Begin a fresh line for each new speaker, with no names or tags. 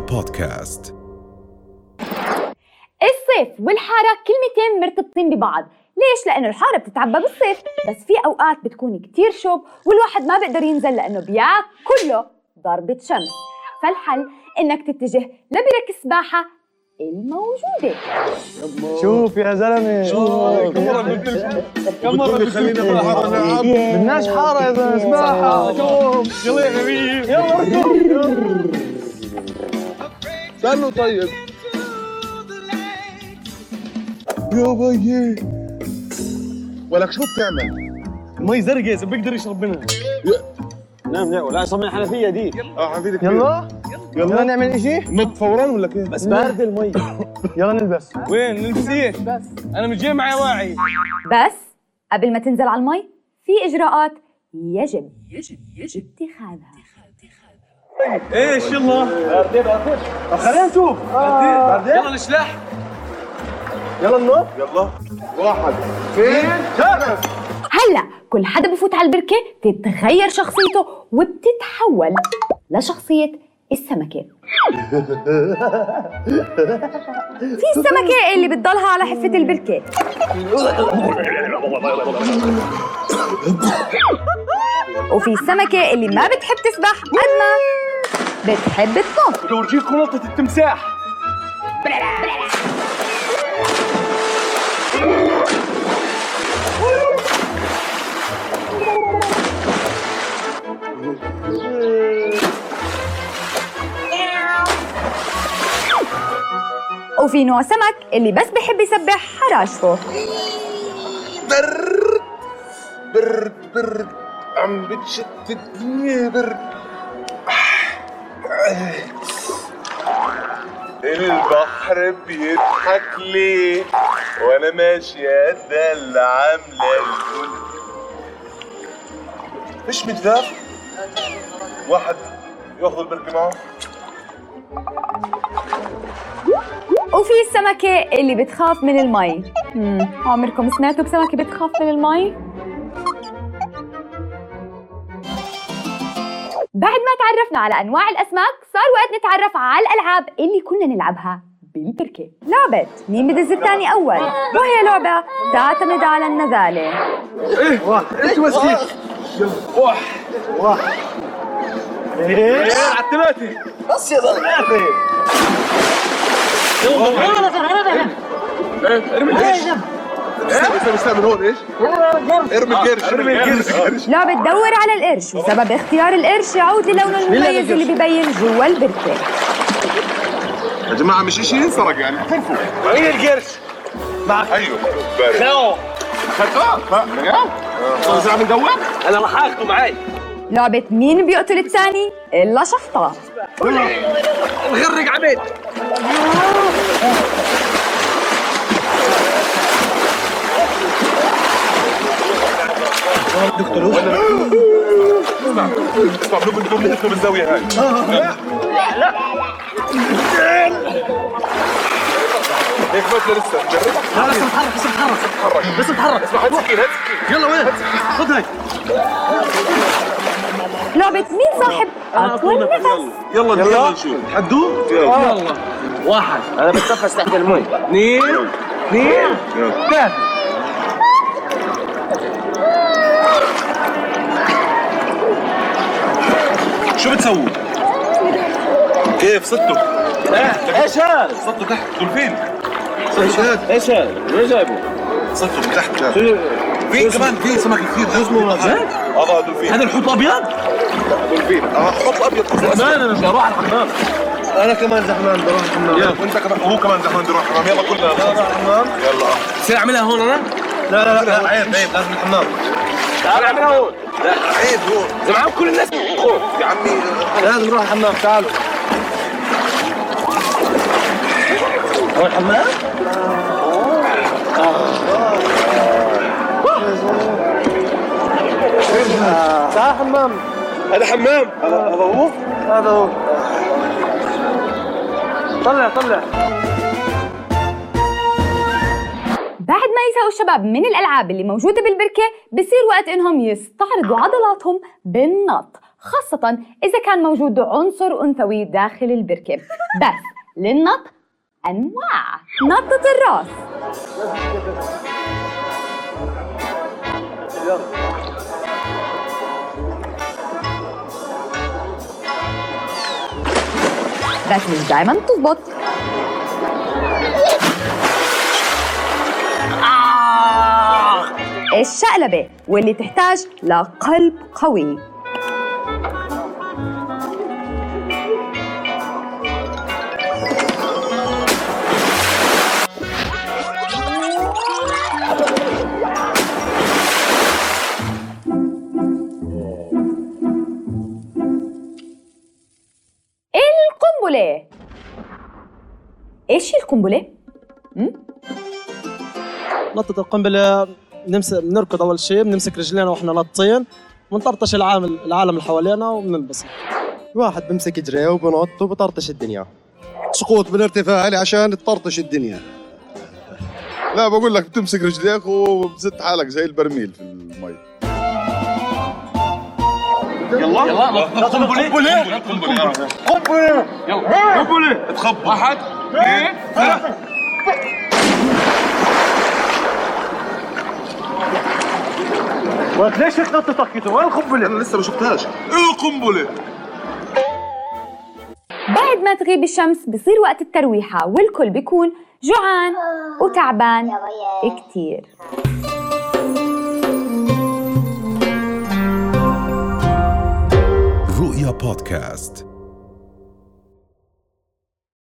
بودكاست
الصيف والحارة كلمتين مرتبطين ببعض ليش؟ لأنه الحارة بتتعبى بالصيف بس في أوقات بتكون كتير شوب والواحد ما بيقدر ينزل لأنه بياكله ضربة شمس فالحل إنك تتجه لبرك السباحة الموجودة
شوف يا آه، زلمه
كم مرة قلت لك كم مرة قلت
خلينا في الحارة، نعم.
بدناش حاره يا زلمه سباحه شوف
يلا يا حبيبي
يلا اركب
استنوا طيب
يا بيي
ولك شو بتعمل؟
مي زرقاء إذا بيقدر يشرب منها
نعم لا ولا صمي حنفيه دي
اه حبيبي كبير.
يلا يلا نعمل اشي
نط فورا ولا كيف؟
بس بارد المي
يلا نلبس
وين نلبس ايه؟ بس انا مش جاي معي واعي
بس قبل ما تنزل على المي في إجراءات يجب يجب اتخاذها
ايش يلا؟
طب خلينا نشوف
يلا نشلح
يلا النط
هلا كل حدا بفوت على البركة تتغير شخصيته وبتتحول لشخصية السمكة في السمكة اللي بتضلها على حفة البركة وفي السمكة اللي ما بتحب تسبح قد ما بتحب تنط
بورجيكم نطة التمساح
وفي نوع سمك اللي بس بحب يسبح حراشفه
برد برد برد عم بتشتتني برد البحر بيضحك ليه وانا ماشي ادلع عامله الكل مش متذاب واحد ياخذ البركه معه
وفي السمكة اللي بتخاف من المي مم. عمركم سمعتوا بسمكة بتخاف من المي؟ بعد ما تعرفنا على أنواع الأسماك صار وقت نتعرف على الألعاب اللي كنا نلعبها بالبركة لعبة مين بدز الثاني أول وهي لعبة تعتمد على النذالة
انتوا ماسكين
آه.
واح
على الثلاثة
استنى استنى استنى من هون ايش؟ ارمي القرش ارمي القرش
لعبة دور على القرش وسبب اختيار القرش يعود للونه المميز اللي ببين جوا البركة
يا جماعه مش شيء ينسرق يعني اعترفوا
وين القرش؟
ايوه بارد
نو
خدتها اذا عم ندور
انا راح اخذه معي
لعبة مين بيقتل الثاني إلا شفطة
نغرق عبيد
اسمع بدكم بدكم نحكم بالزاويه هاي هيك مثل لسه نجرب
لا بس بتحرك بس بتحرك بس بتحرك
اسمع هات سكين هات سكين
يلا وين خذ هاي
لعبة مين صاحب أطول نفس
يلا يلا نشوف
حدوه
يلا
واحد
انا بتنفس تحت المي
اثنين اثنين
يلا
ثلاثة
شو بتسووا؟ كيف صدتوا؟
ايش هذا؟
صدتوا تحت دولفين
ايش هذا؟ ايش هذا؟ وين جايبه؟
صدتوا من تحت في كمان في سمك كثير شو اسمه اه دولفين
هذا الحوت ابيض؟
دولفين اه حط ابيض حط أسود.
انا مش بروح على الحمام
انا كمان زحمان بروح الحمام
وانت كمان وهو كمان زحمان بيروح حمام يلا كلنا يلا آه.
بصير اعملها هون انا؟
لا لا لا عيب عيب لازم الحمام
تعال اعملها هون
عيب هو
زعما كل الناس
يا عمي
لازم نروح الحمام تعالوا
هو الحمام؟
تعال حمام
هذا حمام هذا هذا هو
هذا هو طلع طلع
بعد ما يزهقوا الشباب من الألعاب اللي موجودة بالبركة بصير وقت إنهم يستعرضوا عضلاتهم بالنط خاصة إذا كان موجود عنصر أنثوي داخل البركة بس للنط أنواع نطة الرأس بس مش دايما بتزبط الشقلبة واللي تحتاج لقلب قوي القنبلة ايش هي القنبلة؟
نطة القنبلة بنمسك بنركض أول شيء بنمسك رجلينا وإحنا نطين بنطرطش العالم العالم اللي حوالينا وبننبسط
واحد بمسك جريه وبنط وبطرطش الدنيا
سقوط من ارتفاعي عشان تطرطش الدنيا
لا بقول لك بتمسك رجليك وبزت حالك زي البرميل في المي
يلا يلا قنبله قنبله قنبله يلا قنبله تخبط واحد اثنين ثلاثة
ليش هيك نطتك أنت؟ وين القنبلة؟
انا لسه ما شفتهاش ايه قنبله
بعد ما تغيب الشمس بصير وقت الترويحة والكل بيكون جوعان وتعبان كتير
رؤيا بودكاست